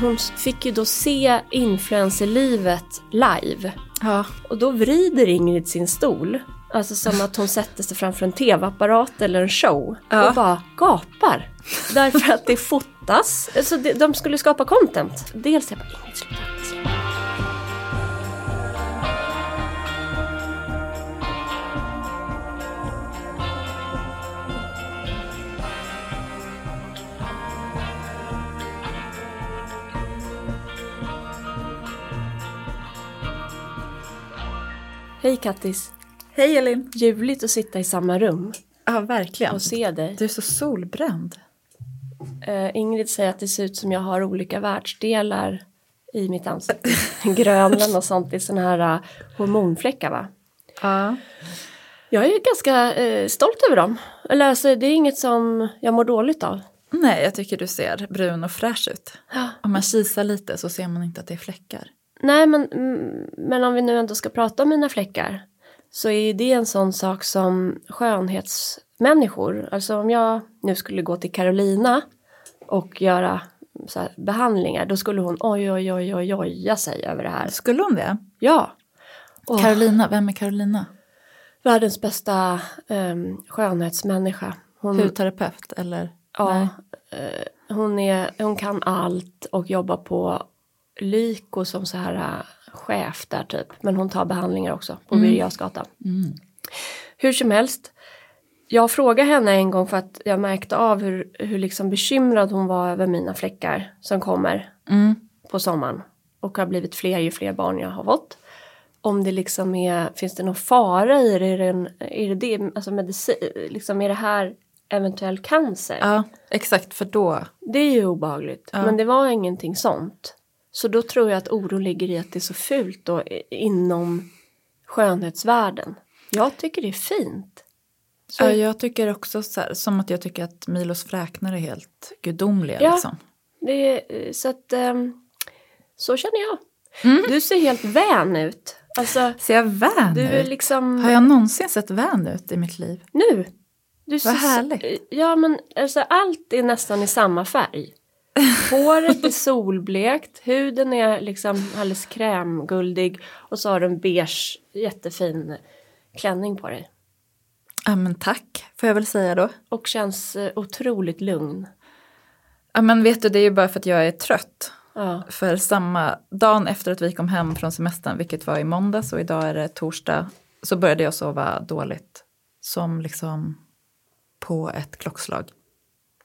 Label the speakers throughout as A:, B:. A: Hon fick ju då se influencerlivet live.
B: Ja.
A: Och då vrider Ingrid sin stol. Alltså som att hon sätter sig framför en tv-apparat eller en show.
B: Ja.
A: Och bara gapar. Därför att det fotas. Alltså det- de skulle skapa content. Dels jag bara, Ingrid sluta. sluta." Hej Kattis.
B: Hej Elin.
A: Ljuvligt att sitta i samma rum
B: Ja, verkligen.
A: och se dig.
B: Du är så solbränd.
A: Eh, Ingrid säger att det ser ut som jag har olika världsdelar i mitt ansikte. Grönland och sånt, det är såna här eh, hormonfläckar va?
B: Ja.
A: Jag är ganska eh, stolt över dem. Eller alltså, det är inget som jag mår dåligt av.
B: Nej, jag tycker du ser brun och fräsch ut. Om man kisar lite så ser man inte att det är fläckar.
A: Nej, men, mm, men om vi nu ändå ska prata om mina fläckar så är ju det en sån sak som skönhetsmänniskor, alltså om jag nu skulle gå till Carolina och göra så här, behandlingar, då skulle hon oj, oj, oj, oj, oja sig över det här.
B: Skulle hon det?
A: Ja. Och
B: Carolina, vem är Carolina?
A: världens bästa um, skönhetsmänniska.
B: Mm.
A: Hon,
B: Hudterapeut eller?
A: ja,
B: Nej.
A: eh, hon, är, hon kan allt och jobbar på Lyko som så här eh, chef där typ. Men hon tar behandlingar också på Birger Jarlsgatan.
B: Mm.
A: Hur som helst. Jag frågade henne en gång för att jag märkte av hur, hur liksom bekymrad hon var över mina fläckar som kommer
B: Mm.
A: på sommaren och har blivit fler ju fler barn jag har fått. Om det liksom är, finns det någon fara i det? Är det, en, är det, det alltså medicin, liksom är det här eventuell cancer?
B: Ja, exakt för då.
A: Det är ju obehagligt,
B: Ja.
A: men det var ingenting sånt. Så då tror jag att oron ligger i att det är så fult då i- inom skönhetsvärlden. Jag tycker det är fint. Så-
B: Ja, jag tycker också så här, som att jag tycker att Milos fräknar är helt gudomliga
A: Ja.
B: liksom.
A: Det, är- eh, så att, ehm, så känner jag.
B: Mm.
A: Du ser helt vän ut. Alltså,
B: Ser jag vän
A: du är
B: ut?
A: liksom...
B: Har jag någonsin sett vän ut i mitt liv?
A: Nu! Du
B: Vad härligt.
A: Ja men alltså allt är nästan i samma färg. Håret är solblekt, huden är liksom alldeles krämguldig och så har du en beige jättefin klänning på dig.
B: Ja, men tack, får jag väl säga då.
A: Och känns eh, otroligt lugn.
B: Ja, men vet du, det är ju bara för att jag är trött.
A: Ja.
B: För samma dagen efter att vi kom hem från semestern, vilket var i måndags och idag är det torsdag, så började jag sova dåligt. Som liksom på ett klockslag.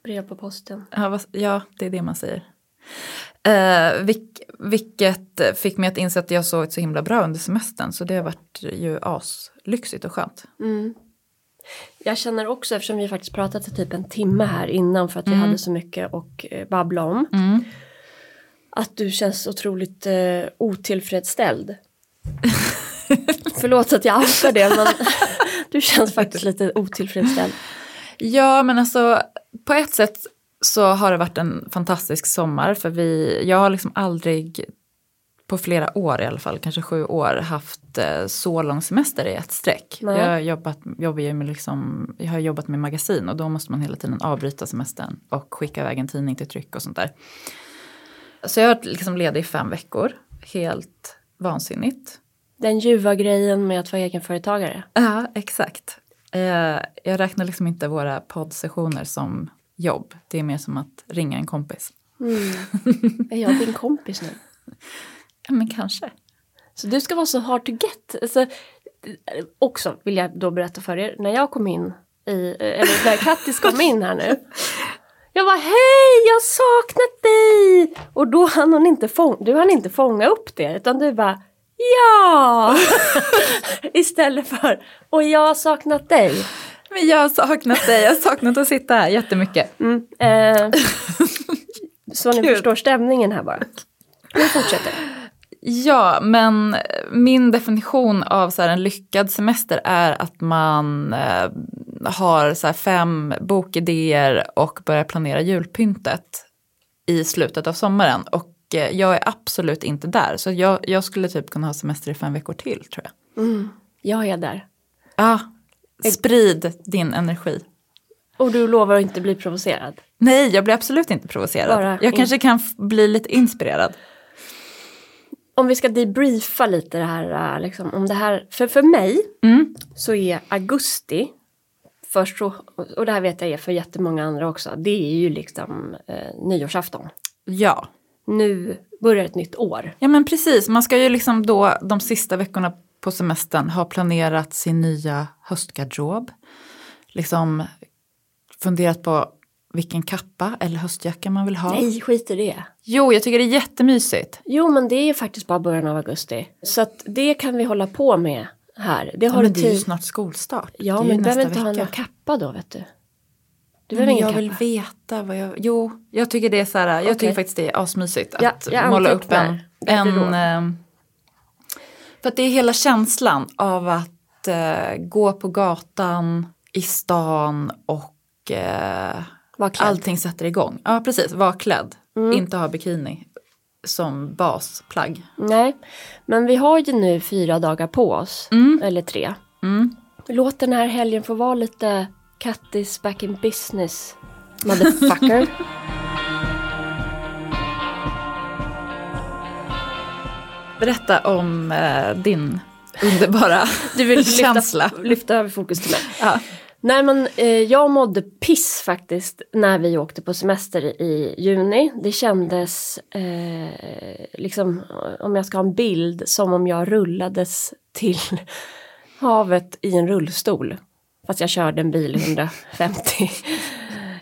A: Brev på posten.
B: Ja, vad, ja det är det man säger. Eh, vilk, vilket fick mig att inse att jag sovit så himla bra under semestern. Så det har varit ju aslyxigt och skönt.
A: Mm. Jag känner också, eftersom vi faktiskt pratat i typ en timme här innan för att vi hade så mycket att eh, babbla om.
B: Mm.
A: att du känns otroligt eh, otillfredsställd. Förlåt att jag outar det men du känns faktiskt lite otillfredsställd.
B: Ja, men alltså på ett sätt så har det varit en fantastisk sommar för vi, jag har liksom aldrig på flera år i alla fall, kanske sju år, haft eh, så lång semester i ett streck.
A: Nej.
B: Jag, har jobbat, jobbar ju med liksom, jag har jobbat med magasin och då måste man hela tiden avbryta semestern och skicka iväg en tidning till tryck och sånt där. Så jag har varit liksom ledig i fem veckor, helt vansinnigt.
A: Den ljuva grejen med att vara egenföretagare.
B: Ja, exakt. Eh, jag räknar liksom inte våra poddsessioner som jobb. Det är mer som att ringa en kompis.
A: Är jag din kompis nu?
B: Ja, men kanske.
A: Så du ska vara så hard to get. Alltså, eh, också vill jag då berätta för er, när jag kom in i, eh, eller när Kattis kom in här nu. Jag var hej, jag har saknat dig! Och då hann hon inte, fång- du hann inte fånga upp det utan du bara ja! Istället för och jag har saknat dig.
B: Men jag har saknat dig, jag har saknat att sitta här jättemycket.
A: Mm, eh, så ni
B: Kul.
A: förstår stämningen här bara. Nu fortsätter.
B: Ja, men min definition av så här en lyckad semester är att man eh, har så här fem bokidéer och börjar planera julpyntet i slutet av sommaren. Och eh, jag är absolut inte där, så jag, jag skulle typ kunna ha semester i fem veckor till tror jag.
A: Jag är där.
B: Ja, sprid din energi.
A: Och du lovar att inte bli provocerad?
B: Nej, jag blir absolut inte provocerad.
A: Bara
B: jag
A: in-
B: kanske kan f- bli lite inspirerad.
A: Om vi ska debriefa lite det här, eh, liksom, om det här, för, för mig
B: Mm.
A: så är augusti, först så, och det här vet jag är för jättemånga andra också, det är ju liksom eh, nyårsafton.
B: Ja.
A: Nu börjar ett nytt år.
B: ja, men precis. Man ska ju liksom då de sista veckorna på semestern ha planerat sin nya höstgarderob. Liksom funderat på vilken kappa eller höstjacka man vill ha.
A: Nej, skit i det.
B: Jo, jag tycker det är jättemysigt.
A: Jo, men det är ju faktiskt bara början av augusti. Så att det kan vi hålla på med här. Det har
B: ja, men
A: du
B: det är ju
A: tid.
B: snart skolstart.
A: Ja,
B: det är
A: men
B: ju
A: du behöver
B: nästa
A: inte ha någon
B: vecka.
A: kappa då, vet du. Du behöver
B: Nej, men
A: ingen
B: jag
A: kappa.
B: vill veta vad jag... Jo, jag tycker det är så här, jag
A: Okej.
B: tycker faktiskt det är asmysigt
A: Ja,
B: att
A: jag
B: måla upp en...
A: antecknar.
B: en
A: Bättre råd.
B: eh, för att det är hela känslan av att eh, gå på gatan, i stan och eh,
A: Var klädd. Mm.
B: allting sätter igång. Ja, precis. Var klädd. Inte ha bikini som basplagg.
A: Nej, men vi har ju nu fyra dagar på oss. Eller tre.
B: Mm.
A: Låt den här helgen få vara lite Kattis back in business, motherfucker.
B: Berätta om eh, din underbara
A: Du vill
B: känsla.
A: lyfta, lyfta över fokus till mig.
B: Ja.
A: Nej men eh, jag mådde piss faktiskt när vi åkte på semester i juni. Det kändes, eh, liksom, om jag ska ha en bild, som om jag rullades till havet i en rullstol. Fast jag körde en bil 150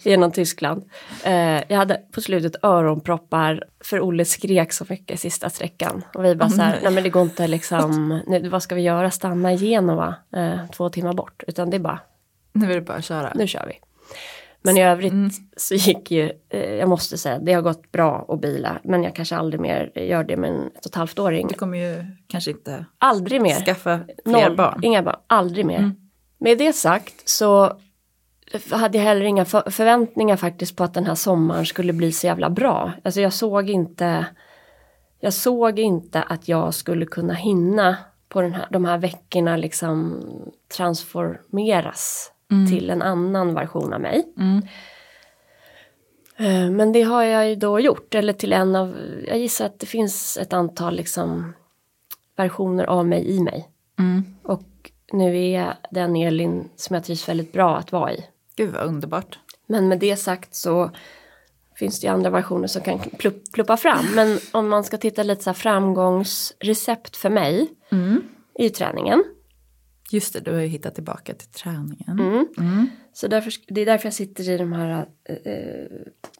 A: genom Tyskland. Eh, jag hade på slutet öronproppar för Olle skrek så mycket sista sträckan. Och vi bara
B: Åh,
A: så här,
B: nej.
A: nej. men det går inte liksom, nu, vad ska vi göra, stanna i Genova eh, två timmar bort. Utan det är bara,
B: Nu är det bara att köra.
A: nu kör vi. Men i övrigt så gick ju, eh, jag måste säga, det har gått bra att bila. Men jag kanske aldrig mer gör det med en ett och ett halvt åring.
B: Du kommer ju kanske inte
A: Aldrig mer.
B: skaffa fler
A: Noll,
B: barn. Mm.
A: inga barn, aldrig mer. Med det sagt så hade jag heller inga för- förväntningar faktiskt på att den här sommaren skulle bli så jävla bra. Alltså jag såg inte, jag såg inte att jag skulle kunna hinna på den här, de här veckorna liksom transformeras
B: Mm.
A: till en annan version av mig. Eh, Men det har jag ju då gjort, eller till en av, jag gissar att det finns ett antal liksom versioner av mig i mig. Och nu är jag den Elin som jag trivs väldigt bra att vara i.
B: Gud vad underbart.
A: Men med det sagt så finns det ju andra versioner som kan plupp, pluppa fram. Men om man ska titta lite så här framgångsrecept för mig är ju träningen.
B: Just det, du har ju hittat tillbaka till träningen.
A: Mm. Så därför, det är därför jag sitter i de här, eh, eh,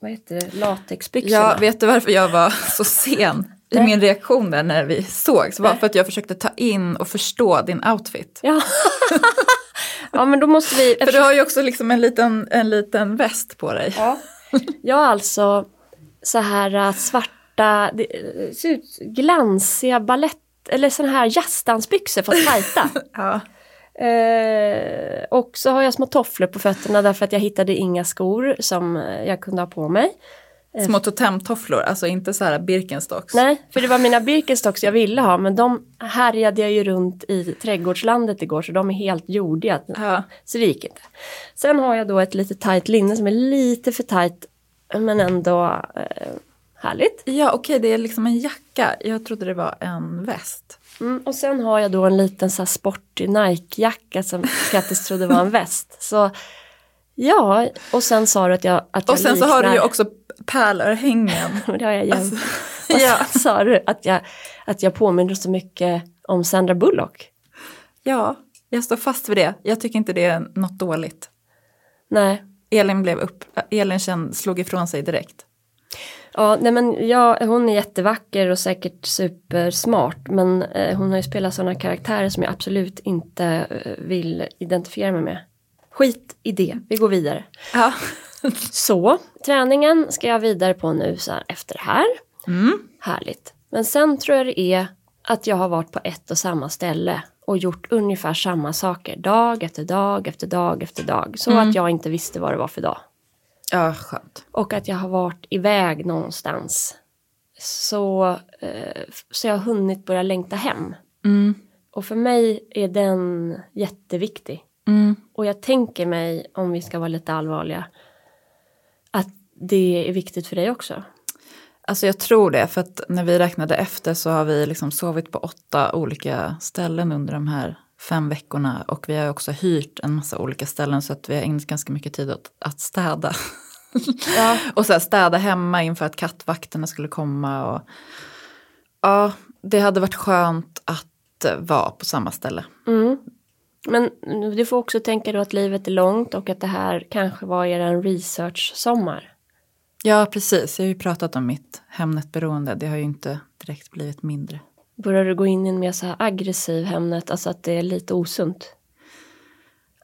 A: vad heter det, latexbyxorna.
B: Ja, vet du varför jag var så sen i min reaktion där när vi sågs? Var för att jag försökte ta in och förstå din outfit.
A: ja. ja, men då måste vi...
B: För du har ju också liksom en liten, en liten väst på dig.
A: Ja. Jag har alltså så här äh, svarta, det äh, ser ut glansiga ballett eller såna här jazzdansbyxor fast tajta.
B: Ja.
A: eh, och så har jag små tofflor på fötterna därför att jag hittade inga skor som eh, jag kunde ha på mig.
B: Små totemtofflor, alltså inte så här Birkenstocks.
A: Eh. Nej, för det var mina Birkenstocks jag ville ha men de härjade jag ju runt i trädgårdslandet igår så de är helt jordiga.
B: Ja.
A: Så det gick inte. Sen har jag då ett lite tajt linne som är lite för tajt men ändå eh, härligt.
B: Ja, okej, det är liksom en jacka. Jag trodde det var en väst.
A: Mm, och sen har jag då en liten så här sportig Nike-jacka som Kattis trodde var en väst. Så ja, och sen sa du att jag att
B: Och
A: jag
B: sen så har du ju
A: liknar-
B: också pärlörhängen.
A: Det har jag igen.
B: Alltså,
A: och
B: ja.
A: sen sa du att jag, att jag påminner så mycket om Sandra Bullock.
B: Ja, jag står fast vid det. Jag tycker inte det är något dåligt.
A: Nej,
B: Elin blev upp, äh, Elin kände, slog ifrån sig direkt.
A: Ja, nej men jag, hon är jättevacker och säkert supersmart men eh, hon har ju spelat sådana karaktärer som jag absolut inte eh, vill identifiera mig med. Skit i det, vi går vidare.
B: Ja.
A: Så, träningen ska jag vidare på nu så här, efter det här.
B: Mm.
A: Härligt. Men sen tror jag det är att jag har varit på ett och samma ställe och gjort ungefär samma saker dag efter dag efter dag efter dag. Så att jag inte visste vad det var för dag.
B: Ja, skönt.
A: Och att jag har varit iväg någonstans. Så, eh, så jag har hunnit börja längta hem.
B: Mm.
A: Och för mig är den jätteviktig.
B: Mm.
A: Och jag tänker mig, om vi ska vara lite allvarliga, att det är viktigt för dig också.
B: Alltså jag tror det, för att när vi räknade efter så har vi liksom sovit på åtta olika ställen under de här fem veckorna och vi har också hyrt en massa olika ställen så att vi har ägnat ganska mycket tid åt att städa.
A: Ja.
B: Och så här, städa hemma inför att kattvakterna skulle komma. Och... Ja, det hade varit skönt att eh, vara på samma ställe.
A: Mm. Men du får också tänka då att livet är långt och att det här kanske var er research-sommar.
B: Ja, precis. Jag har ju pratat om mitt Hemnet-beroende. Det har ju inte direkt blivit mindre.
A: Börjar du gå in i en mer så här aggressiv Hemnet, alltså att det är lite osunt?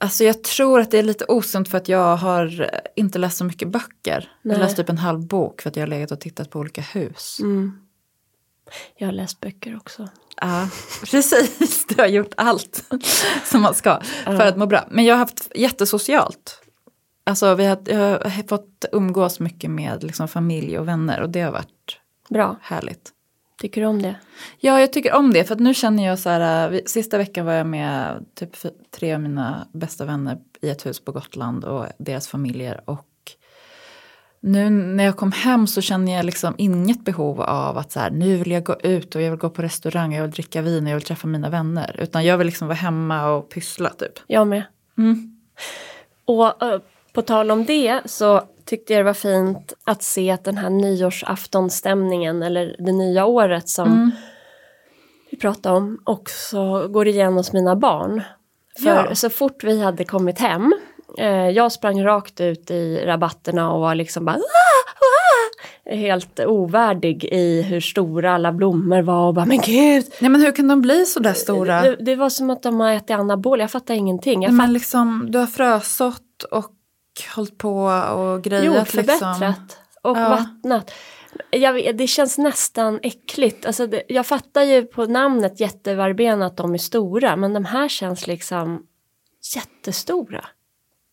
B: Alltså jag tror att det är lite osunt för att jag har eh, inte läst så mycket böcker.
A: Nej.
B: Jag läste typ en halv bok för att jag har legat och tittat på olika hus.
A: Mm. Jag har läst böcker också.
B: Ja, precis. Du har gjort allt som man ska för att må bra. Men jag har haft jättesocialt. Alltså vi har, jag har fått umgås mycket med liksom familj och vänner och det har varit
A: Bra,
B: härligt.
A: tycker du om det?
B: Ja, jag tycker om det. För att nu känner jag så här, eh, vi- sista veckan var jag med typ f- tre av mina bästa vänner i ett hus på Gotland och deras familjer. Och nu när jag kom hem så känner jag liksom inget behov av att så här, nu vill jag gå ut och jag vill gå på restaurang, jag vill dricka vin och jag vill träffa mina vänner. Utan jag vill liksom vara hemma och pyssla typ.
A: Jag med.
B: Mm.
A: Och eh, på tal om det så tyckte jag det var fint att se att den här nyårsaftonstämningen eller det nya året som
B: Mm.
A: vi pratade om också går igen hos mina barn. För
B: Ja.
A: så fort vi hade kommit hem, eh, jag sprang rakt ut i rabatterna och var liksom bara "Ah, ah", helt ovärdig i hur stora alla blommor var och bara men gud!
B: Nej men hur kan de bli så där stora?
A: Det, det var som att de har ätit anabol, jag fattar ingenting. Jag
B: men liksom, du har frösått och hållit på och grejat.
A: Jordförbättrat
B: Liksom.
A: och
B: Ja.
A: vattnat. Jag, vet- det känns nästan äckligt. Alltså det, jag fattar ju på namnet jättevarben att de är stora men de här känns liksom jättestora.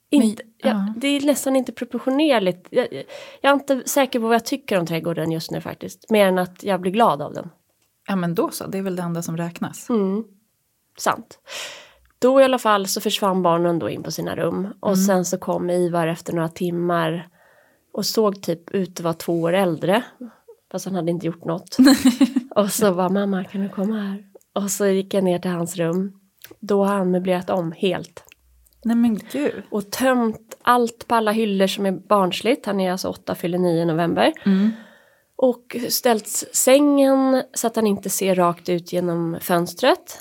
A: Inte,
B: Men-
A: jag,
B: ja.
A: Det är nästan inte proportionerligt. Jag, jag är inte säker på vad jag tycker om trädgården just nu faktiskt. Mer än att jag blir glad av den.
B: Ja men då så, det är väl det enda som räknas.
A: Mm. Sant. Då i alla fall så försvann barnen då in på sina rum och sen så kom Ivar efter några timmar och såg typ ut att vara två år äldre. Fast han hade inte gjort något. och så var mamma kan du komma här? Och så gick jag ner till hans rum. Då har han möblerat om helt
B: Nej men gud.
A: och tömt allt på alla hyllor som är barnsligt. Han är alltså 8, fyller 9 i november. Och ställt sängen så att han inte ser rakt ut genom fönstret.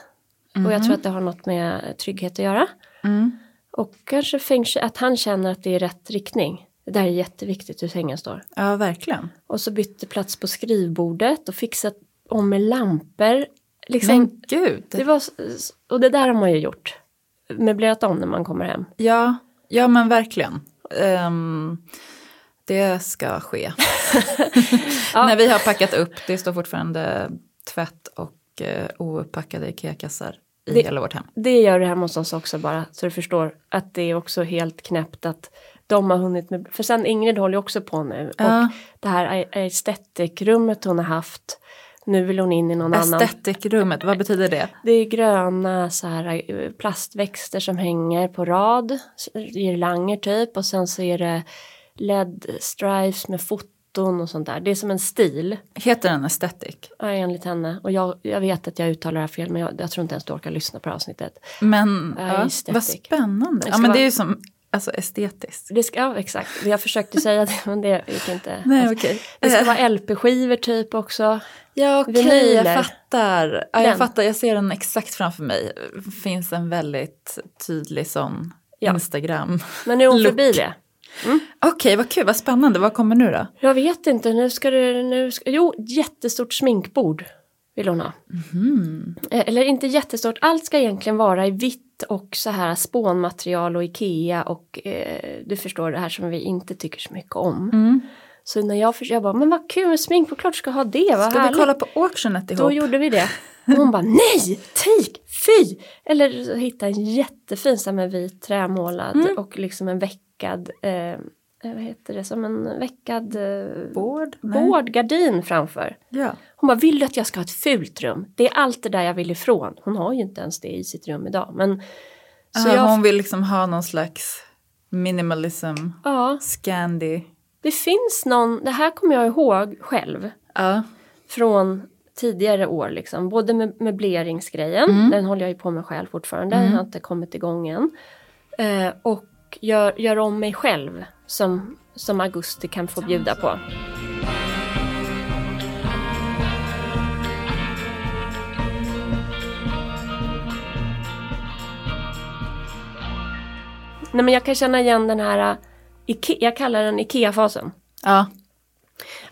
A: Och jag tror att det har något med trygghet att göra.
B: Mm.
A: Och kanske feng shui, att han känner att det är rätt riktning. Det där är jätteviktigt hur sängen står.
B: Ja, verkligen.
A: Och så bytte plats på skrivbordet och fixat om med lampor. Liksom,
B: Men gud.
A: det var, s- och det där har man ju gjort. Möblerat om när man kommer hem.
B: Ja, ja, men verkligen. Ehm, det ska ske. När vi har packat upp, det står fortfarande tvätt och uh, ouppackade IKEA-kassar i
A: Det-
B: hela vårt hem.
A: Det gör det hemma hos oss också bara, så du förstår att det är också helt knäppt att de har hunnit med, för sen Ingrid håller ju också på nu
B: Ja.
A: och det här estetic-rummet hon har haft, nu vill hon in i någon annan.
B: Estetikrummet, vad betyder det?
A: Det är gröna så här, eh, plastväxter som hänger på rad, s- girlanger typ och sen så är det LED-stripes med foton och sånt där. Det är som en stil
B: Heter den estetik?
A: ja, enligt henne och jag, jag vet att jag uttalar det här fel men jag, jag tror inte ens du orkar lyssna på det här avsnittet.
B: Men
A: Ja,
B: ja,
A: estetik.
B: vad spännande.
A: Det
B: Ja,
A: ska
B: men
A: vara-
B: det är ju som alltså, estetiskt.
A: Det ska, ja, exakt. Jag försökte säga det men det gick inte.
B: Nej, okej. Eh.
A: Det ska vara LP-skivor typ också.
B: Ja okej,
A: Vinyler.
B: jag fattar. Ja,
A: Den.
B: jag fattar, jag ser den exakt framför mig. Finns en väldigt tydlig sån
A: Ja.
B: Instagram.
A: Men nu är hon
B: Look.
A: förbi det.
B: Okej, vad kul, vad spännande. Vad kommer nu då?
A: Jag vet inte, nu ska det... Nu ska, jo, jättestort sminkbord vill hon ha.
B: Mm.
A: Eh, Eller inte jättestort, allt ska egentligen vara i vitt och så här spånmaterial och Ikea och eh, du förstår det här som vi inte tycker så mycket om.
B: Mm.
A: Så när jag, förs- jag bara, men vad kul med sminkbord, klart du ska ha det, vad
B: Ska
A: härligt.
B: vi kolla på auctionet ihop?
A: Då gjorde vi det. Och hon bara nej, take, fy! Eller så hittade en jättefin så här med vit trämålad
B: Mm.
A: och liksom en veckad, eh, vad heter det, som en veckad eh,
B: Board? Nej.
A: boardgardin framför.
B: Ja.
A: Hon bara, vill du att jag ska ha ett fult rum? Det är allt det där jag vill ifrån. Hon har ju inte ens det i sitt rum idag. Men Så
B: Ja,
A: jag,
B: Hon vill liksom ha någon slags minimalism,
A: ja,
B: scandy.
A: det finns någon, det här kommer jag ihåg själv
B: Ja.
A: från tidigare år liksom. Både med möbleringsgrejen, den håller jag ju på med själv fortfarande, jag har inte kommit igång än. Eh, och gör, gör om mig själv som, som augusti kan få bjuda på. Nej men jag kan känna igen den här, eh, Ike- jag kallar den IKEA-fasen
B: ja.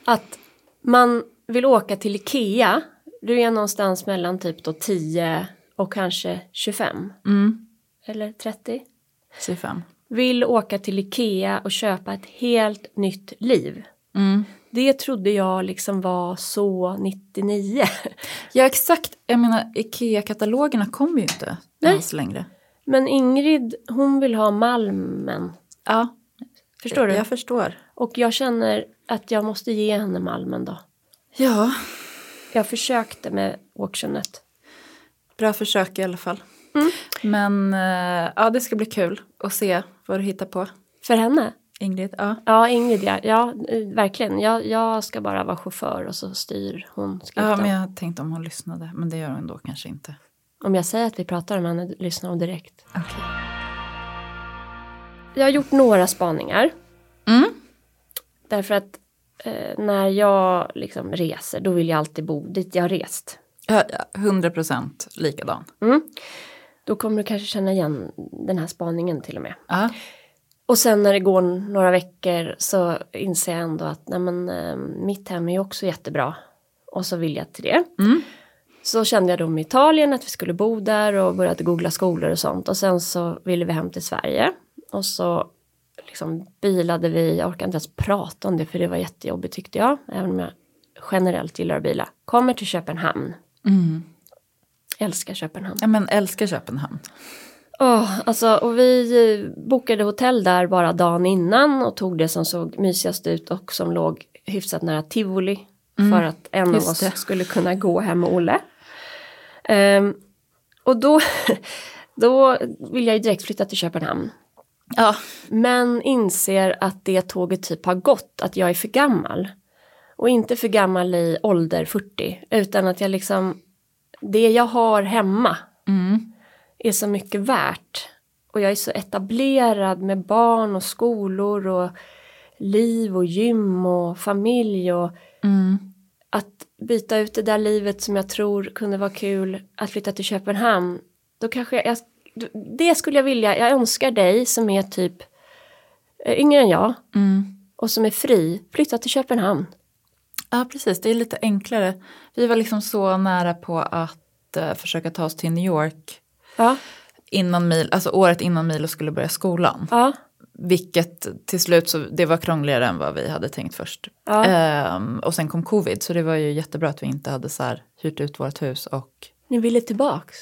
A: att man vill åka till Ikea. Du är någonstans mellan typ då 10 och kanske 25
B: Mm.
A: eller 30.
B: 25.
A: Vill åka till Ikea och köpa ett helt nytt liv.
B: Mm.
A: Det trodde jag liksom var så 99.
B: Ja exakt, jag menar IKEA-katalogerna kommer ju inte
A: Nej.
B: ens längre.
A: Men Ingrid, hon vill ha Malmen.
B: Ja,
A: Förstår du?
B: Jag förstår.
A: Och jag känner att jag måste ge henne Malmen då.
B: Ja,
A: Jag försökte med auctionet.
B: bra försök i alla fall. Men eh, ja, det ska bli kul att se vad du hittar på,
A: För henne?
B: Ingrid. Ja.
A: Ja, Ingrid ja. ja eh, verkligen. Jag, jag ska bara vara chaufför och så styr hon
B: ja,
A: skutan.
B: men jag tänkte om hon lyssnade, men det gör hon då kanske inte.
A: Om jag säger att vi pratar om henne lyssnar hon direkt.
B: Okej.
A: Jag har gjort några spaningar.
B: Mm.
A: Därför att eh, när jag liksom reser då vill jag alltid bo dit jag har rest.
B: Ja, ja, 100 procent likadan.
A: Mm. Då kommer du kanske känna igen den här spaningen till och med.
B: Ja.
A: Och sen när det går några veckor så inser jag ändå att nej men, eh, mitt hem är ju också jättebra. Och så vill jag till det.
B: Mm.
A: Så kände jag då med Italien att vi skulle bo där och började googla skolor och sånt. Och sen så ville vi hem till Sverige. Och så liksom bilade vi, jag orkar inte ens prata om det för det var jättejobbigt tyckte jag. Även om jag generellt gillar att bila. Kommer till Köpenhamn.
B: Mm.
A: Älskar Köpenhamn.
B: ja, men älskar Köpenhamn.
A: Åh, alltså, och vi eh, bokade hotell där bara dagen innan och tog det som såg mysigast ut och som låg hyfsat nära tivoli. för att en av
B: Mm. just
A: oss
B: det.
A: skulle kunna gå hem med Olle. Ehm, och då, då vill jag ju direkt flytta till Köpenhamn.
B: Ja,
A: Men inser att det tåget typ har gått, att jag är för gammal. Och inte för gammal i ålder 40, utan att jag liksom, det jag har hemma
B: mm.
A: är så mycket värt. Och jag är så etablerad med barn och skolor och liv och gym och familj och
B: Mm.
A: att byta ut det där livet som jag tror kunde vara kul att flytta till Köpenhamn. Då kanske jag, jag det skulle jag vilja, jag önskar dig som är typ eh, yngre än jag
B: Mm.
A: och som är fri, flytta till Köpenhamn.
B: ja, precis. Det är lite enklare. Vi var liksom så nära på att eh, försöka ta oss till New York
A: Ja,
B: innan Mil, alltså året innan Milo skulle börja skolan.
A: ja,
B: Vilket till slut så det var krångligare än vad vi hade tänkt först.
A: Ja.
B: Ehm, och sen kom covid så det var ju jättebra att vi inte hade så här hyrt ut vårt hus och
A: ni ville tillbaks.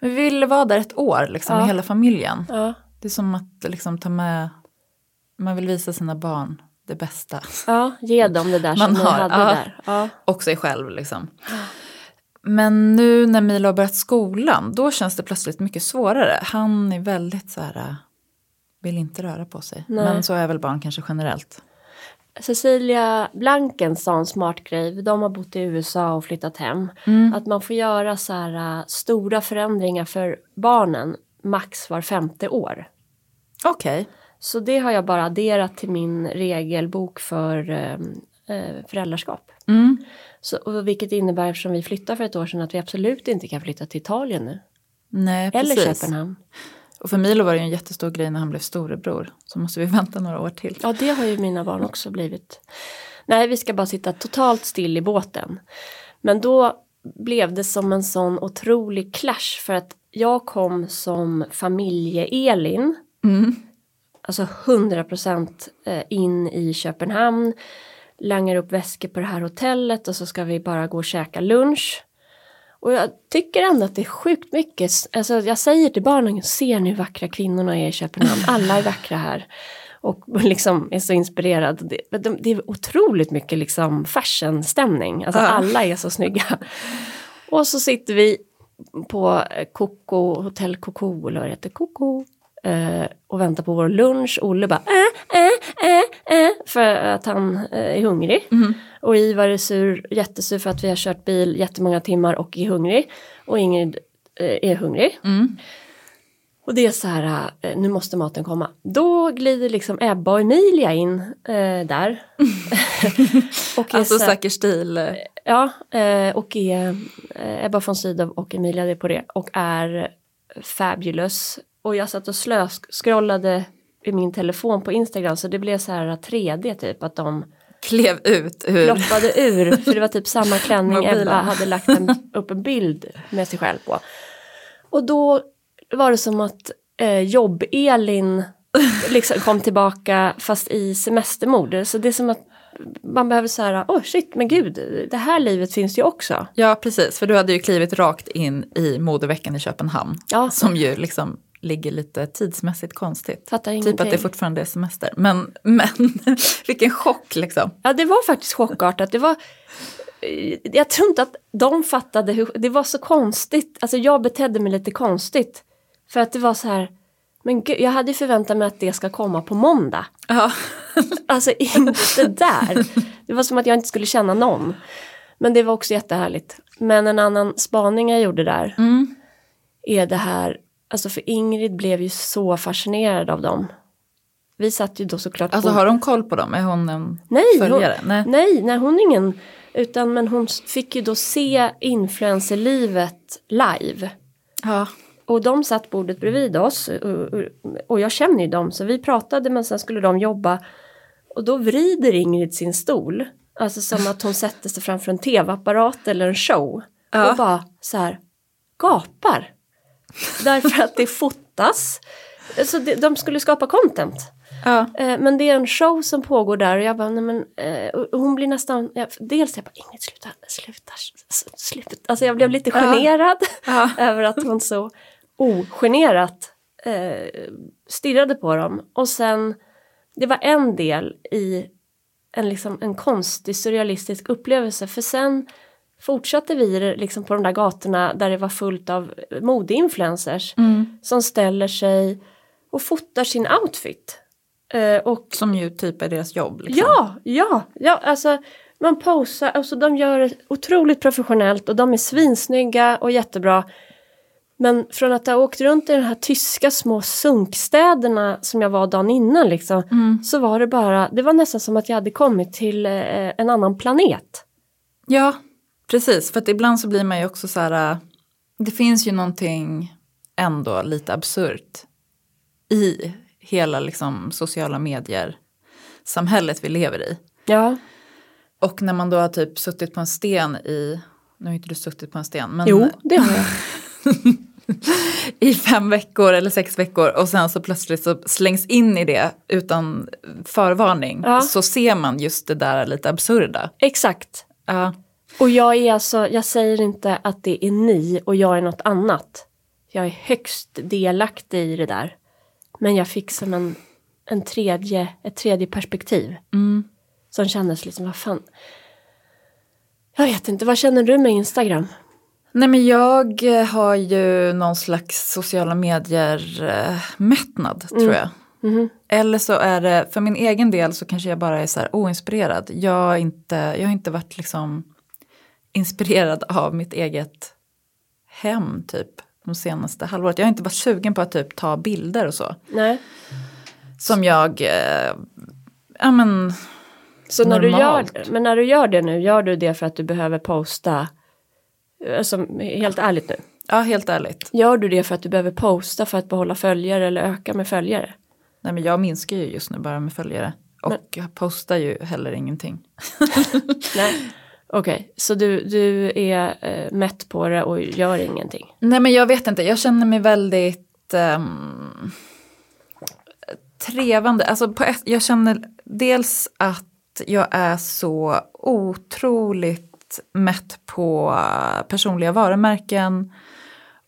B: vi ville vara där ett år liksom
A: Ja.
B: med hela familjen.
A: Ja,
B: Det är som att liksom ta med, man vill visa sina barn det bästa.
A: ja ge dem det där som
B: Man
A: ni
B: har,
A: hade
B: ja.
A: där. Ja.
B: Och sig själv liksom. Men nu när Milo har börjat skolan, då känns det plötsligt mycket svårare. Han är väldigt så här, äh, vill inte röra på sig.
A: Nej.
B: Men så är väl barn kanske generellt.
A: Cecilia Blanken sa en smart grej, de har bott i USA och flyttat hem. Att man får göra så här äh, stora förändringar för barnen max var femte år.
B: Okej.
A: Så det har jag bara adderat till min regelbok för eh, eh, föräldraskap.
B: Mm.
A: Så, och vilket innebär eftersom vi flyttade för ett år sedan att vi absolut inte kan flytta till Italien nu.
B: Nej,
A: Eller
B: precis.
A: Köpenhamn.
B: Och för Milo var det ju en jättestor grej när han blev storebror. Så måste vi vänta några år till.
A: Ja, det har ju mina barn också blivit. Nej, vi ska bara sitta totalt still i båten. Men då blev det som en sån otrolig clash för att jag kom som familje-Elin,
B: Mm.
A: alltså 100% eh, in i Köpenhamn, langar upp väskor på det här hotellet och så ska vi bara gå och käka lunch. Och jag tycker ändå att det är sjukt mycket, alltså jag säger till barnen, se nu vackra kvinnorna är i Köpenhamn, alla är vackra här. Och liksom är så inspirerad. Det, men de- det är otroligt mycket liksom fashionstämning, alltså
B: Ja.
A: alla är så snygga. Och så sitter vi på eh, Coco, Hotell Coco eller vad det heter, Coco. Eh, och väntar på vår lunch. Olle bara äh, äh, äh, äh, för att han eh, är hungrig. Och Ivar är sur, jättesur för att vi har kört bil jättemånga timmar och är hungrig. Och Ingrid eh, är hungrig.
B: Mm.
A: Och det är så här, eh, nu måste maten komma. Då glider liksom Ebba och Emilia in eh, där. och är
B: Alltså
A: så här-
B: säker stil.
A: Ja, eh, och är eh, Ebba von Sydow och Emilia det är på det och är fabulous. Och jag satt och slöskrollade i min telefon på Instagram så det blev så här 3D typ att de
B: Klev ut ur.
A: ploppade ur för det var typ samma klänning
B: Typ. Mobilen.
A: Ebba hade lagt en, upp en bild med sig själv på. Och då var det som att eh, jobb-Elin liksom kom tillbaka fast i semestermode. Så det är som att man behöver så här, åh oh shit, men gud, det här livet finns ju också.
B: Ja precis, för du hade ju klivit rakt in i modeveckan i Köpenhamn.
A: Ja.
B: Som ju liksom ligger lite tidsmässigt konstigt.
A: Fattar
B: Typ
A: ingenting.
B: att det fortfarande är semester. Men, men vilken chock liksom.
A: Ja, det var faktiskt chockartat. Det var, eh, jag tror inte att de fattade hur, det var så konstigt, alltså jag betedde mig lite konstigt. För att det var så här, men gud, jag hade ju förväntat mig att det ska komma på måndag.
B: Ja.
A: Alltså inte där. Det var som att jag inte skulle känna någon. Men det var också jättehärligt. Men en annan spaning jag gjorde där
B: Mm.
A: är det här, alltså för Ingrid blev ju så fascinerad av dem. Vi satt ju då såklart
B: Alltså
A: på...
B: har de koll på dem? Är hon en
A: Nej, hon-
B: följare? Nej.
A: Nej, nej hon är ingen. Utan men hon s- fick ju då se influencerlivet live.
B: Ja.
A: Och de satt bordet bredvid oss och, och, och jag känner ju dem så vi pratade men sen skulle de jobba. Och då vrider Ingrid sin stol. Alltså som att hon sätter sig framför en tv-apparat eller en show.
B: Ja.
A: Och bara så här gapar. Därför att det fotas. Så det, de skulle skapa content.
B: ja.
A: Eh, Men det är en show som pågår där och jag bara, nej men, eh, och hon blir nästan, jag, dels jag bara, Ingrid sluta, sluta, s- sluta. Alltså jag blev lite
B: Ja.
A: generad
B: Ja.
A: över att hon så ogenerat eh, stirrade på dem. Och sen, det var en del i en, liksom, en konstig surrealistisk upplevelse för sen fortsatte vi det liksom på de där gatorna där det var fullt av modeinfluencers
B: Mm.
A: som ställer sig och fotar sin outfit. Eh, och
B: Som ju typ är deras jobb. Liksom.
A: ja, ja, ja, alltså man posar, alltså de gör det otroligt professionellt och de är svinsnygga och jättebra. Men från att ha åkt runt i de här tyska små sunkstäderna som jag var dagen innan liksom,
B: Mm.
A: så var det bara, det var nästan som att jag hade kommit till eh, en annan planet.
B: Ja, precis. För att ibland så blir man ju också så här, äh, det finns ju någonting ändå lite absurt i hela liksom sociala medier samhället vi lever i.
A: Ja,
B: Och när man då har typ suttit på en sten i, nu har inte du suttit på en sten, men
A: jo, det har jag.
B: i fem veckor eller sex veckor och sen så plötsligt så slängs in i det utan förvarning
A: Ja.
B: så ser man just det där lite absurda.
A: Exakt.
B: Ja,
A: Och jag är alltså, jag säger inte att det är ni och jag är något annat. Jag är högst delaktig i det där. Men jag fick som en, en tredje, ett tredje perspektiv.
B: mm.
A: Som kändes liksom, vad fan. Jag vet inte, vad känner du med Instagram?
B: Nej men jag eh, har ju någon slags sociala medier-mättnad tror jag.
A: Mhm.
B: Eller så är det, för min egen del så kanske jag bara är så här oinspirerad. Jag, är inte, jag har inte varit liksom inspirerad av mitt eget hem typ de senaste halvåret. Jag har inte varit sugen på att typ ta bilder och så.
A: Nej.
B: Som jag, eh, ja men,
A: Så när du,
B: Normalt.
A: gör, men när du gör det nu, gör du det för att du behöver posta? Alltså, helt ärligt nu.
B: ja helt ärligt.
A: Gör du det för att du behöver posta för att behålla följare eller öka med följare?
B: Nej men jag minskar ju just nu bara med följare. Och jag postar ju heller ingenting.
A: Nej. Okej, så du, du är eh, mätt på det och gör ingenting?
B: Nej men jag vet inte, jag känner mig väldigt ehm, trevande. Alltså på ett, jag känner dels att jag är så otroligt mätt på personliga varumärken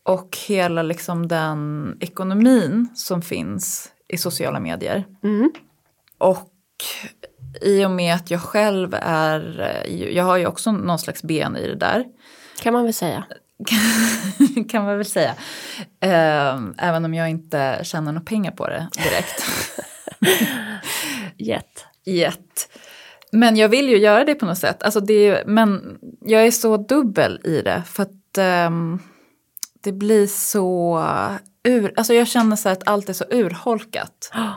B: och hela liksom den ekonomin som finns i sociala medier.
A: Mm.
B: Och i och med att jag själv är, jag har ju också någon slags ben i det där.
A: Kan man väl säga.
B: kan man väl säga. Eh, även om jag inte tjänar några pengar på det direkt.
A: Jätt.
B: Jet. Men jag vill ju göra det på något sätt. Alltså det är, ju- men jag är så dubbel i det. För att ehm, det blir så... Ur, alltså jag känner så här att allt är så urholkat.
A: Ja.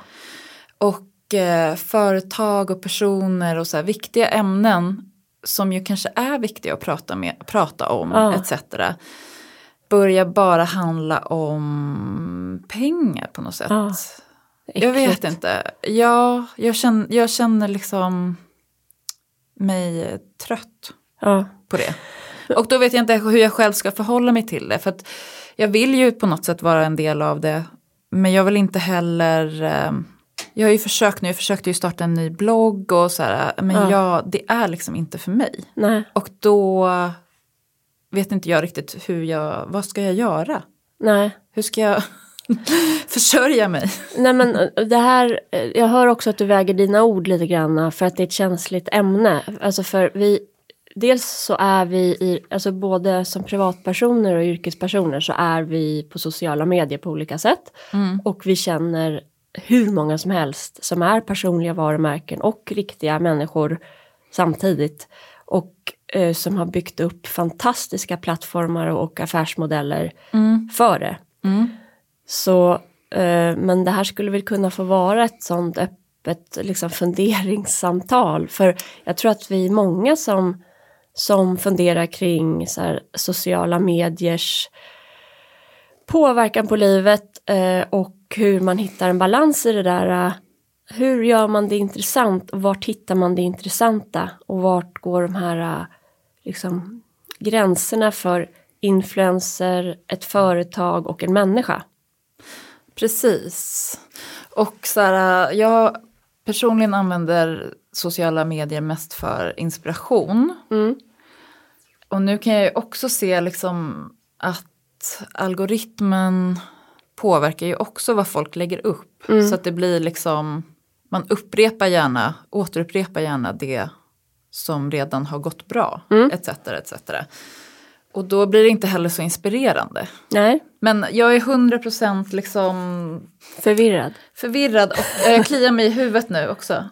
B: Och eh, företag och personer och så här viktiga ämnen som ju kanske är viktiga att prata, med, prata om
A: Ja.
B: etc. Börjar bara handla om pengar på något sätt.
A: Ja.
B: Jag vet inte. Ja, jag, känner, jag känner liksom mig trött
A: Ja.
B: på det. Och då vet jag inte hur jag själv ska förhålla mig till det. För att jag vill ju på något sätt vara en del av det. Men jag vill inte heller... eh, Jag har ju försökt nu, jag försökte ju starta en ny blogg och så här. Men
A: Ja.
B: jag, det är liksom inte för mig.
A: Nej.
B: Och då vet inte jag riktigt hur jag... Vad ska jag göra?
A: Nej.
B: Hur ska jag försörja mig?
A: Nej men eh, det här, eh, jag hör också att du väger dina ord lite grann för att det är ett känsligt ämne. Alltså för vi, dels så är vi, i, alltså både som privatpersoner och yrkespersoner så är vi på sociala medier på olika sätt. Och vi känner hur många som helst som är personliga varumärken och riktiga människor samtidigt. Och eh, som har byggt upp fantastiska plattformar och affärsmodeller för det. Så, eh, men det här skulle väl kunna få vara ett sånt öppet liksom, funderingssamtal. För jag tror att vi är många som, som funderar kring så här, sociala mediers påverkan på livet eh, och hur man hittar en balans i det där. eh, Hur gör man det intressant och vart hittar man det intressanta och vart går de här eh, liksom, gränserna för influencer, ett företag och en människa?
B: Precis. Och så här, äh, jag personligen använder sociala medier mest för inspiration.
A: Mm.
B: Och nu kan jag ju också se liksom att algoritmen påverkar ju också vad folk lägger upp. Så att det blir liksom, man upprepar gärna, återupprepar gärna det som redan har gått bra. Etc, etc. Och då blir det inte heller så inspirerande.
A: Nej,
B: Men jag är 100% liksom
A: förvirrad.
B: Förvirrad och eh, jag kliar mig i huvudet nu också.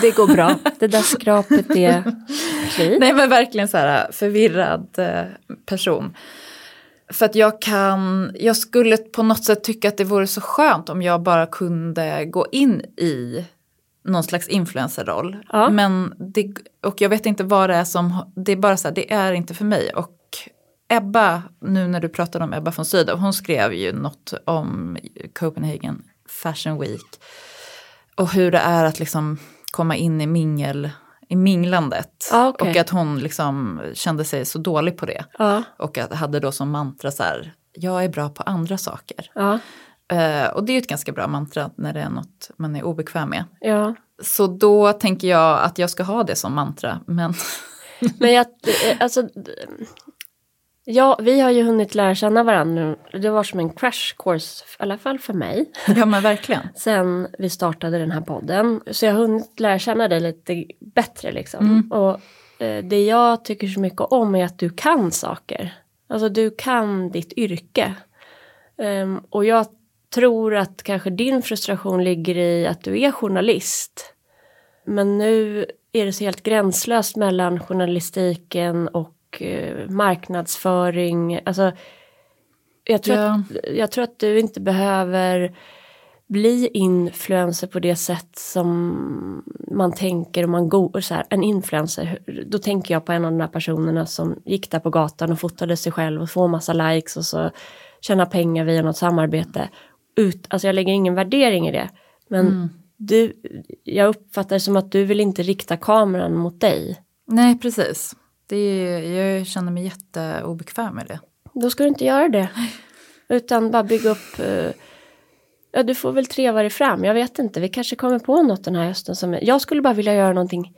A: Det går bra. Det där skrapet är kli.
B: Nej men verkligen så här förvirrad eh, person. För att jag kan, jag skulle på något sätt tycka att det vore så skönt om jag bara kunde gå in i någon slags influencerroll.
A: Ja.
B: Men det, och jag vet inte vad det är som, har- det är bara så här, det är inte för mig. Och Ebba, nu när du pratade om Ebba von Sydow, hon skrev ju något om Copenhagen Fashion Week. Och hur det är att liksom komma in i mingel, i minglandet.
A: Ja, okej.
B: Och att hon liksom kände sig så dålig på det.
A: Ja,
B: Och att, hade då som mantra så här, jag är bra på andra saker.
A: ja,
B: Eh, och det är ju ett ganska bra mantra när det är något man är obekväm med.
A: ja.
B: Så då tänker jag att jag ska ha det som mantra. Men
A: Men jag, eh, alltså, d- ja, vi har ju hunnit lära känna varandra nu. Det var som en crash course, i alla fall för mig,
B: ja men verkligen.
A: sen vi startade den här podden. Så jag har hunnit lära känna dig lite bättre liksom. Och eh, det jag tycker så mycket om är att du kan saker. Alltså du kan ditt yrke. Ehm, och jag tror att kanske din frustration ligger i att du är journalist. Men nu är det så helt gränslöst mellan journalistiken och eh, marknadsföring. Alltså, jag, tror
B: Ja.
A: att, jag tror att du inte behöver bli influencer på det sätt som man tänker om man går så här, en influencer. hur- Då tänker jag på en av de där personerna som gick där på gatan och fotade sig själv och får massa likes och så tjäna pengar via något samarbete. Ut, alltså jag lägger ingen värdering i det. Men du, jag uppfattar det som att du vill inte rikta kameran mot dig.
B: Nej precis. Det är, jag känner mig jätteobekväm med det.
A: Då ska du inte göra det. Utan bara bygga upp... eh, ja, du får väl treva dig fram. Jag vet inte, vi kanske kommer på något den här hösten. Som, jag skulle bara vilja göra någonting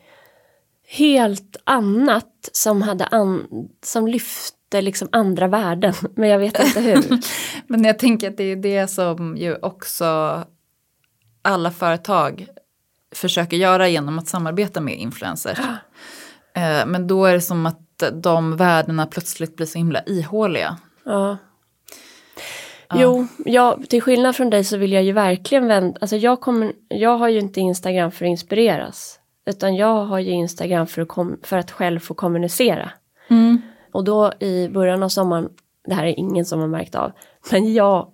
A: helt annat som, hade an, som lyfte liksom andra värden. Men jag vet inte hur.
B: Men jag tänker att det är det som ju också alla företag försöker göra genom att samarbeta med influencers. Eh, Men då är det som att de värdena plötsligt blir så himla ihåliga.
A: Ja. Jo, jag, till skillnad från dig så vill jag ju verkligen vända, alltså jag, kommer, jag har ju inte Instagram för att inspireras. Utan jag har ju Instagram för att, kom, för att själv få kommunicera. Och då i början av sommaren, det här är ingen som har märkt av, men jag,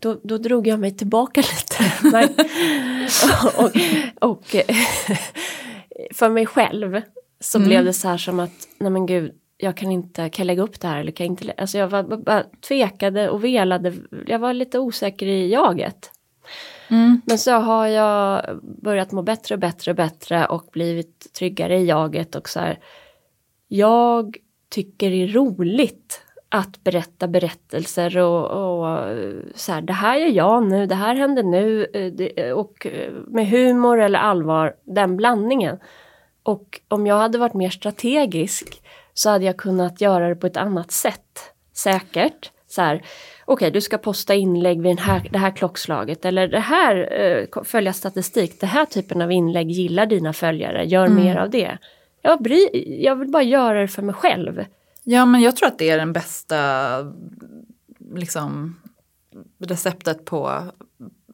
A: då, då drog jag mig tillbaka lite. Men, och, och, och eh, för mig själv så blev det så här som att, nej men gud, jag kan inte, kan jag lägga upp det här eller kan jag inte, lä-" alltså jag var, bara tvekade och velade, jag var lite osäker i jaget.
B: Mm.
A: Men så har jag börjat må bättre och bättre och bättre och blivit tryggare i jaget och så här. Jag tycker det är roligt att berätta berättelser och, och eh, så här, det här gör jag nu, det här händer nu eh, det, och eh, med humor eller allvar, den blandningen. Och om jag hade varit mer strategisk så hade jag kunnat göra det på ett annat sätt. Säkert. Så här, okej du ska posta inlägg vid den här, det här klockslaget eller det här, eh, ko- följa statistik, det här typen av inlägg gillar dina följare, gör mer av det. Jag, bry, jag vill bara göra det för mig själv.
B: Ja, men jag tror att det är den bästa liksom, receptet på,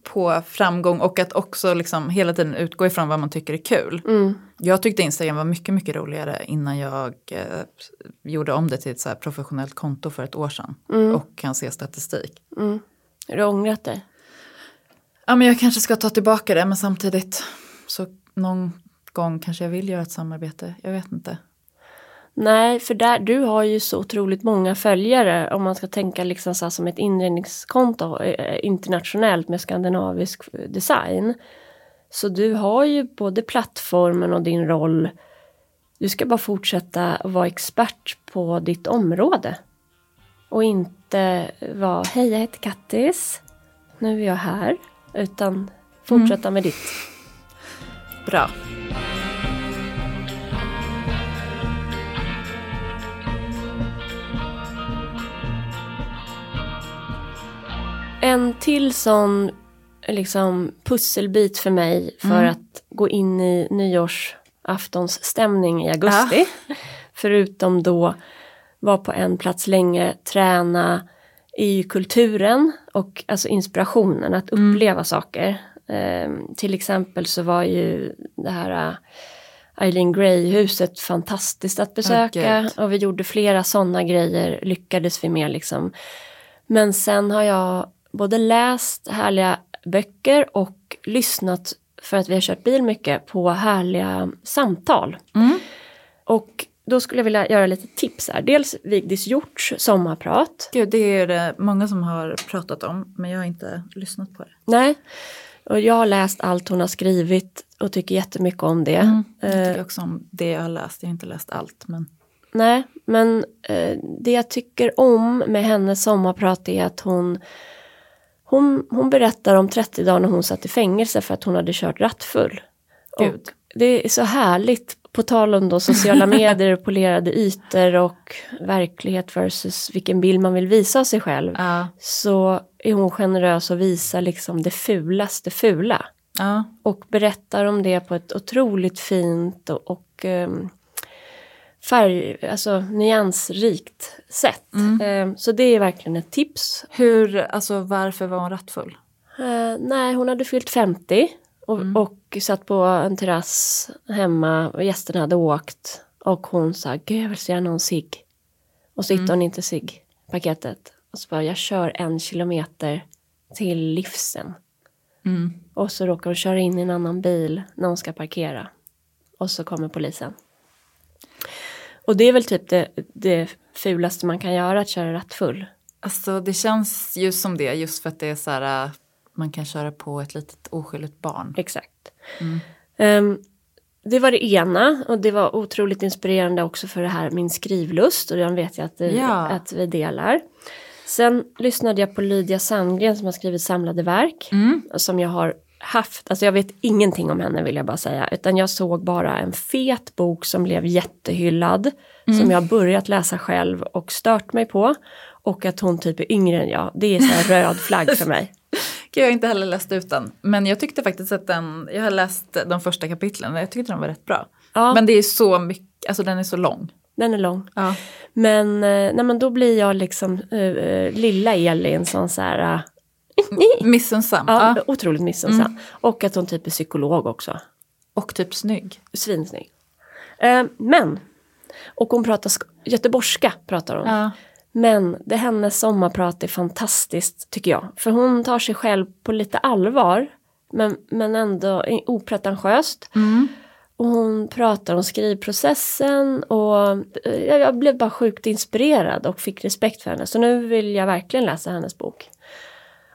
B: på framgång och att också liksom hela tiden utgå ifrån vad man tycker är kul.
A: Mm.
B: Jag tyckte Instagram var mycket, mycket roligare innan jag eh, gjorde om det till ett så här professionellt konto för ett år sedan och kan se statistik.
A: Mm. Har du ångrat dig?
B: Ja, men jag kanske ska ta tillbaka det, men samtidigt så någon gång kanske jag vill göra ett samarbete. Jag vet inte.
A: Nej, för där, du har ju så otroligt många följare om man ska tänka liksom så här som ett inredningskonto eh, internationellt med skandinavisk eh, design. Så du har ju både plattformen och din roll. Du ska bara fortsätta att vara expert på ditt område. Och inte vara, hej jag heter Kattis, nu är jag här. Utan fortsätta med ditt.
B: Bra.
A: En till sån liksom, pusselbit för mig för att gå in i nyårsaftonsstämning i augusti. Förutom då vara på en plats länge, träna i kulturen och alltså inspirationen att uppleva saker. Ehm, till exempel så var ju det här eh, Eileen Gray-huset fantastiskt att besöka
B: gud.
A: och vi gjorde flera sådana grejer, lyckades vi med liksom. Men sen har jag både läst härliga böcker och lyssnat, för att vi har kört bil mycket, på härliga samtal.
B: Mm.
A: Och då skulle jag vilja göra lite tips här. Dels Vigdis Hjorts sommarprat.
B: Gud, det är det många som har pratat om, men jag har inte lyssnat på det.
A: Nej. Och jag har läst allt hon har skrivit och tycker jättemycket om det.
B: Mm. Jag
A: Eh,
B: tycker också om det jag har läst, jag har inte läst allt. Men...
A: Nej, men eh, det jag tycker om med hennes sommarprat är att hon, hon, hon berättar om 30 dagar när hon satt i fängelse för att hon hade kört rattfull. Och
B: Gud.
A: det är så härligt, på tal om då sociala medier och polerade ytor och verklighet versus vilken bild man vill visa av sig själv.
B: Ja,
A: Så är hon generös och visar liksom det fulaste fula
B: ja.
A: och berättar om det på ett otroligt fint och, och ehm, färg, alltså nyansrikt sätt. Ehm, så det är verkligen ett tips.
B: Hur, alltså varför var hon rattfull?
A: Eh, nej, hon hade fyllt 50 och, och satt på en terrass hemma och gästerna hade åkt och hon sa gud jag vill så gärna ha en cigg. Och så hittade hon inte ciggpaketet. Och så bara jag kör en kilometer till livsen.
B: Mm.
A: Och så råkar hon köra in i en annan bil när hon ska parkera. Och så kommer polisen. Och det är väl typ det, det fulaste man kan göra, att köra rattfull.
B: Alltså det känns ju som det, just för att det är så här, äh, man kan köra på ett litet oskyldigt barn.
A: Exakt. Ehm, det var det ena och det var otroligt inspirerande också för det här min skrivlust och den vet jag att, det,
B: Ja.
A: att vi delar. Sen lyssnade jag på Lydia Sandgren som har skrivit samlade verk. och Som jag har haft, alltså jag vet ingenting om henne vill jag bara säga. Utan jag såg bara en fet bok som blev jättehyllad. Som jag har börjat läsa själv och stört mig på. Och att hon typ är yngre än jag, det är så här röd flagg för mig.
B: Gud, jag har inte heller läst ut den. Men jag tyckte faktiskt att den, jag har läst de första kapitlen och jag tyckte de var rätt bra.
A: Ja.
B: Men det är så mycket, alltså den är så lång.
A: den är lång.
B: Ja.
A: Men, eh, nej, men då blir jag liksom eh, eh, lilla Elin som så här... eh,
B: Missunnsam.
A: ja,
B: Ja.
A: Otroligt missunnsam. Och att hon typ är psykolog också.
B: Och typ snygg.
A: Svinsnygg. Eh, men, och hon pratar sk- göteborgska. Pratar hon.
B: Ja.
A: Men det hennes sommarprat är fantastiskt tycker jag. För hon tar sig själv på lite allvar. Men, men ändå i- opretentiöst.
B: Mm.
A: Och hon pratar om skrivprocessen och eh, jag jag blev bara sjukt inspirerad och fick respekt för henne. Så nu vill jag verkligen läsa hennes bok.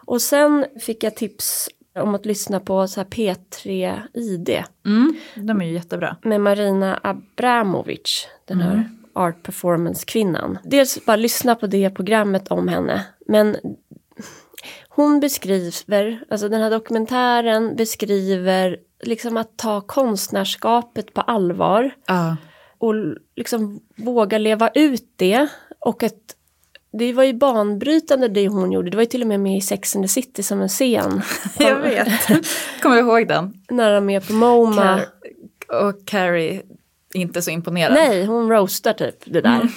A: Och sen fick jag tips om att lyssna på så här P3 ID
B: Mm. De är ju jättebra.
A: med Marina Abramovic, den
B: Mm.
A: här art performance-kvinnan. Dels bara lyssna på det programmet om henne, men hon beskriver, alltså den här dokumentären beskriver liksom att ta konstnärskapet på allvar
B: Ja.
A: och l- liksom våga leva ut det och att det var ju banbrytande det hon gjorde, det var ju till och med med i Sex and the City som en scen.
B: Jag vet. Kommer du ihåg den?
A: När de är på MoMA.
B: Car- och Carrie, inte så imponerad.
A: Nej, hon roastar typ det där.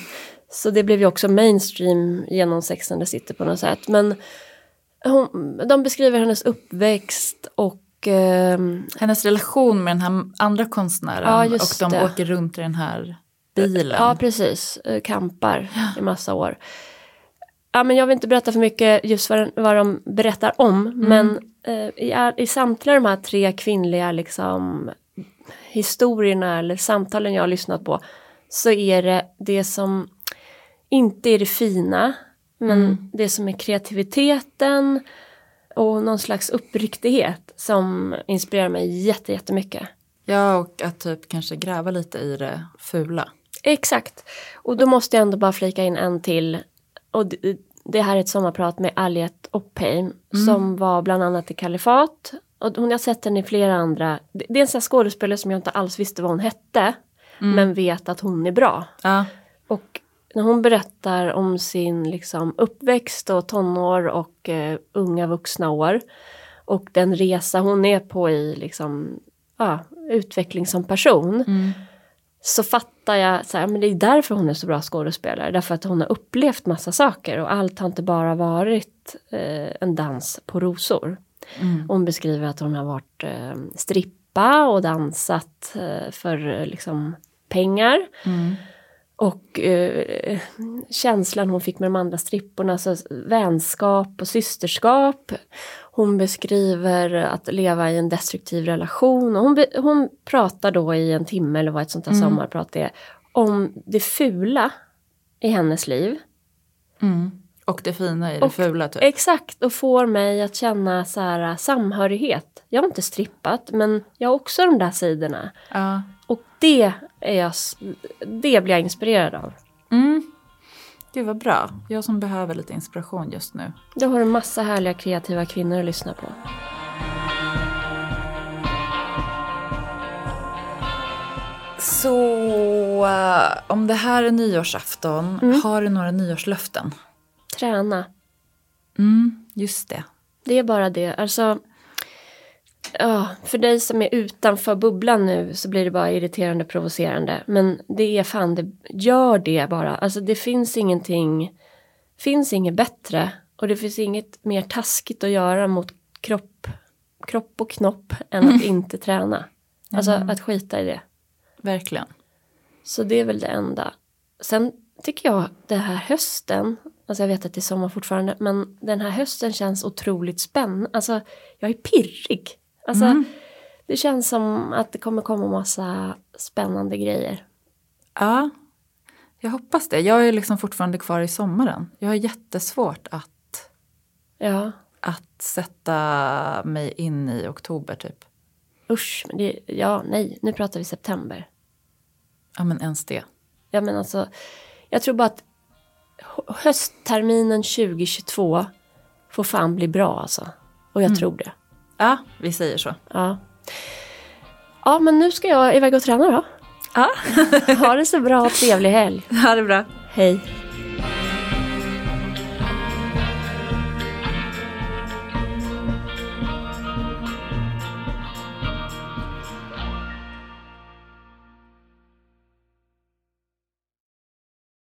A: Så det blev ju också mainstream genom Sex and the City på något sätt. Men hon, de beskriver hennes uppväxt och ehm,
B: Hennes relation med den här andra konstnären
A: Ja,
B: och
A: just
B: de
A: det.
B: åker runt i den här bilen.
A: ja, precis, eh, kampar i massa år. Ja, men jag vill inte berätta för mycket just vad, den, vad de berättar om, men eh, i, all- i samtliga de här tre kvinnliga liksom, historierna eller samtalen jag har lyssnat på så är det det som inte är det fina, men det som är kreativiteten och någon slags uppriktighet som inspirerar mig jätte, jättemycket.
B: Ja, och att typ kanske gräva lite i det fula.
A: Exakt. Och då måste jag ändå bara flika in en till. Och det, det här är ett sommarprat med Aliet Oppheim som var bland annat i Kalifat. Och hon jag har sett henne i flera andra. Det, det är en sån här skådespelare som jag inte alls visste vad hon hette. Men vet att hon är bra.
B: Ja.
A: Och när hon berättar om sin liksom, uppväxt och tonår och eh, unga vuxna år och den resa hon är på i liksom, ja, utveckling som person
B: Mm.
A: så fattar jag så här, men det är därför hon är så bra skådespelare. Därför att hon har upplevt massa saker och allt har inte bara varit eh, en dans på rosor. Hon beskriver att hon har varit eh, strippa och dansat eh, för eh, liksom, pengar. Och eh, känslan hon fick med de andra stripporna, alltså vänskap och systerskap. Hon beskriver att leva i en destruktiv relation. Och hon, be- hon pratar då i en timme, eller vad ett sånt här sommarprat är, om det fula i hennes liv.
B: Och det fina i det fula typ.
A: Exakt, och får mig att känna så här, äh, samhörighet. Jag har inte strippat, men jag har också de där sidorna.
B: Ja.
A: Och det, är jag, s- det blir jag inspirerad av.
B: Mm. Gud vad bra. Jag som behöver lite inspiration just nu.
A: Då har du massa härliga kreativa kvinnor att lyssna på.
B: Så eh, om det här är nyårsafton, har du några nyårslöften?
A: Träna.
B: Mm, just det.
A: Det är bara det. Alltså, ja, för dig som är utanför bubblan nu så blir det bara irriterande och provocerande. Men det är fan, det, gör det bara. Alltså det finns ingenting, finns inget bättre. Och det finns inget mer taskigt att göra mot kropp, kropp och knopp än att inte träna. Alltså att skita i det.
B: Verkligen.
A: Så det är väl det enda. Sen tycker jag det här hösten, alltså jag vet att det är sommar fortfarande, men den här hösten känns otroligt spännande. Alltså jag är pirrig. Alltså det känns som att det kommer komma massa spännande grejer.
B: Ja, jag hoppas det. Jag är liksom fortfarande kvar i sommaren. Jag har jättesvårt att,
A: Ja,
B: att sätta mig in i oktober typ.
A: usch, men det, ja, nej, nu pratar vi september.
B: Ja, men ens det.
A: Ja men alltså, jag tror bara att hö- höstterminen 2022 får fan bli bra alltså. Och jag tror det.
B: Ja, vi säger så.
A: Ja. Ja, men nu ska jag iväg och träna då.
B: Ja,
A: Ha det så bra och trevlig helg.
B: ha det bra.
A: Hej.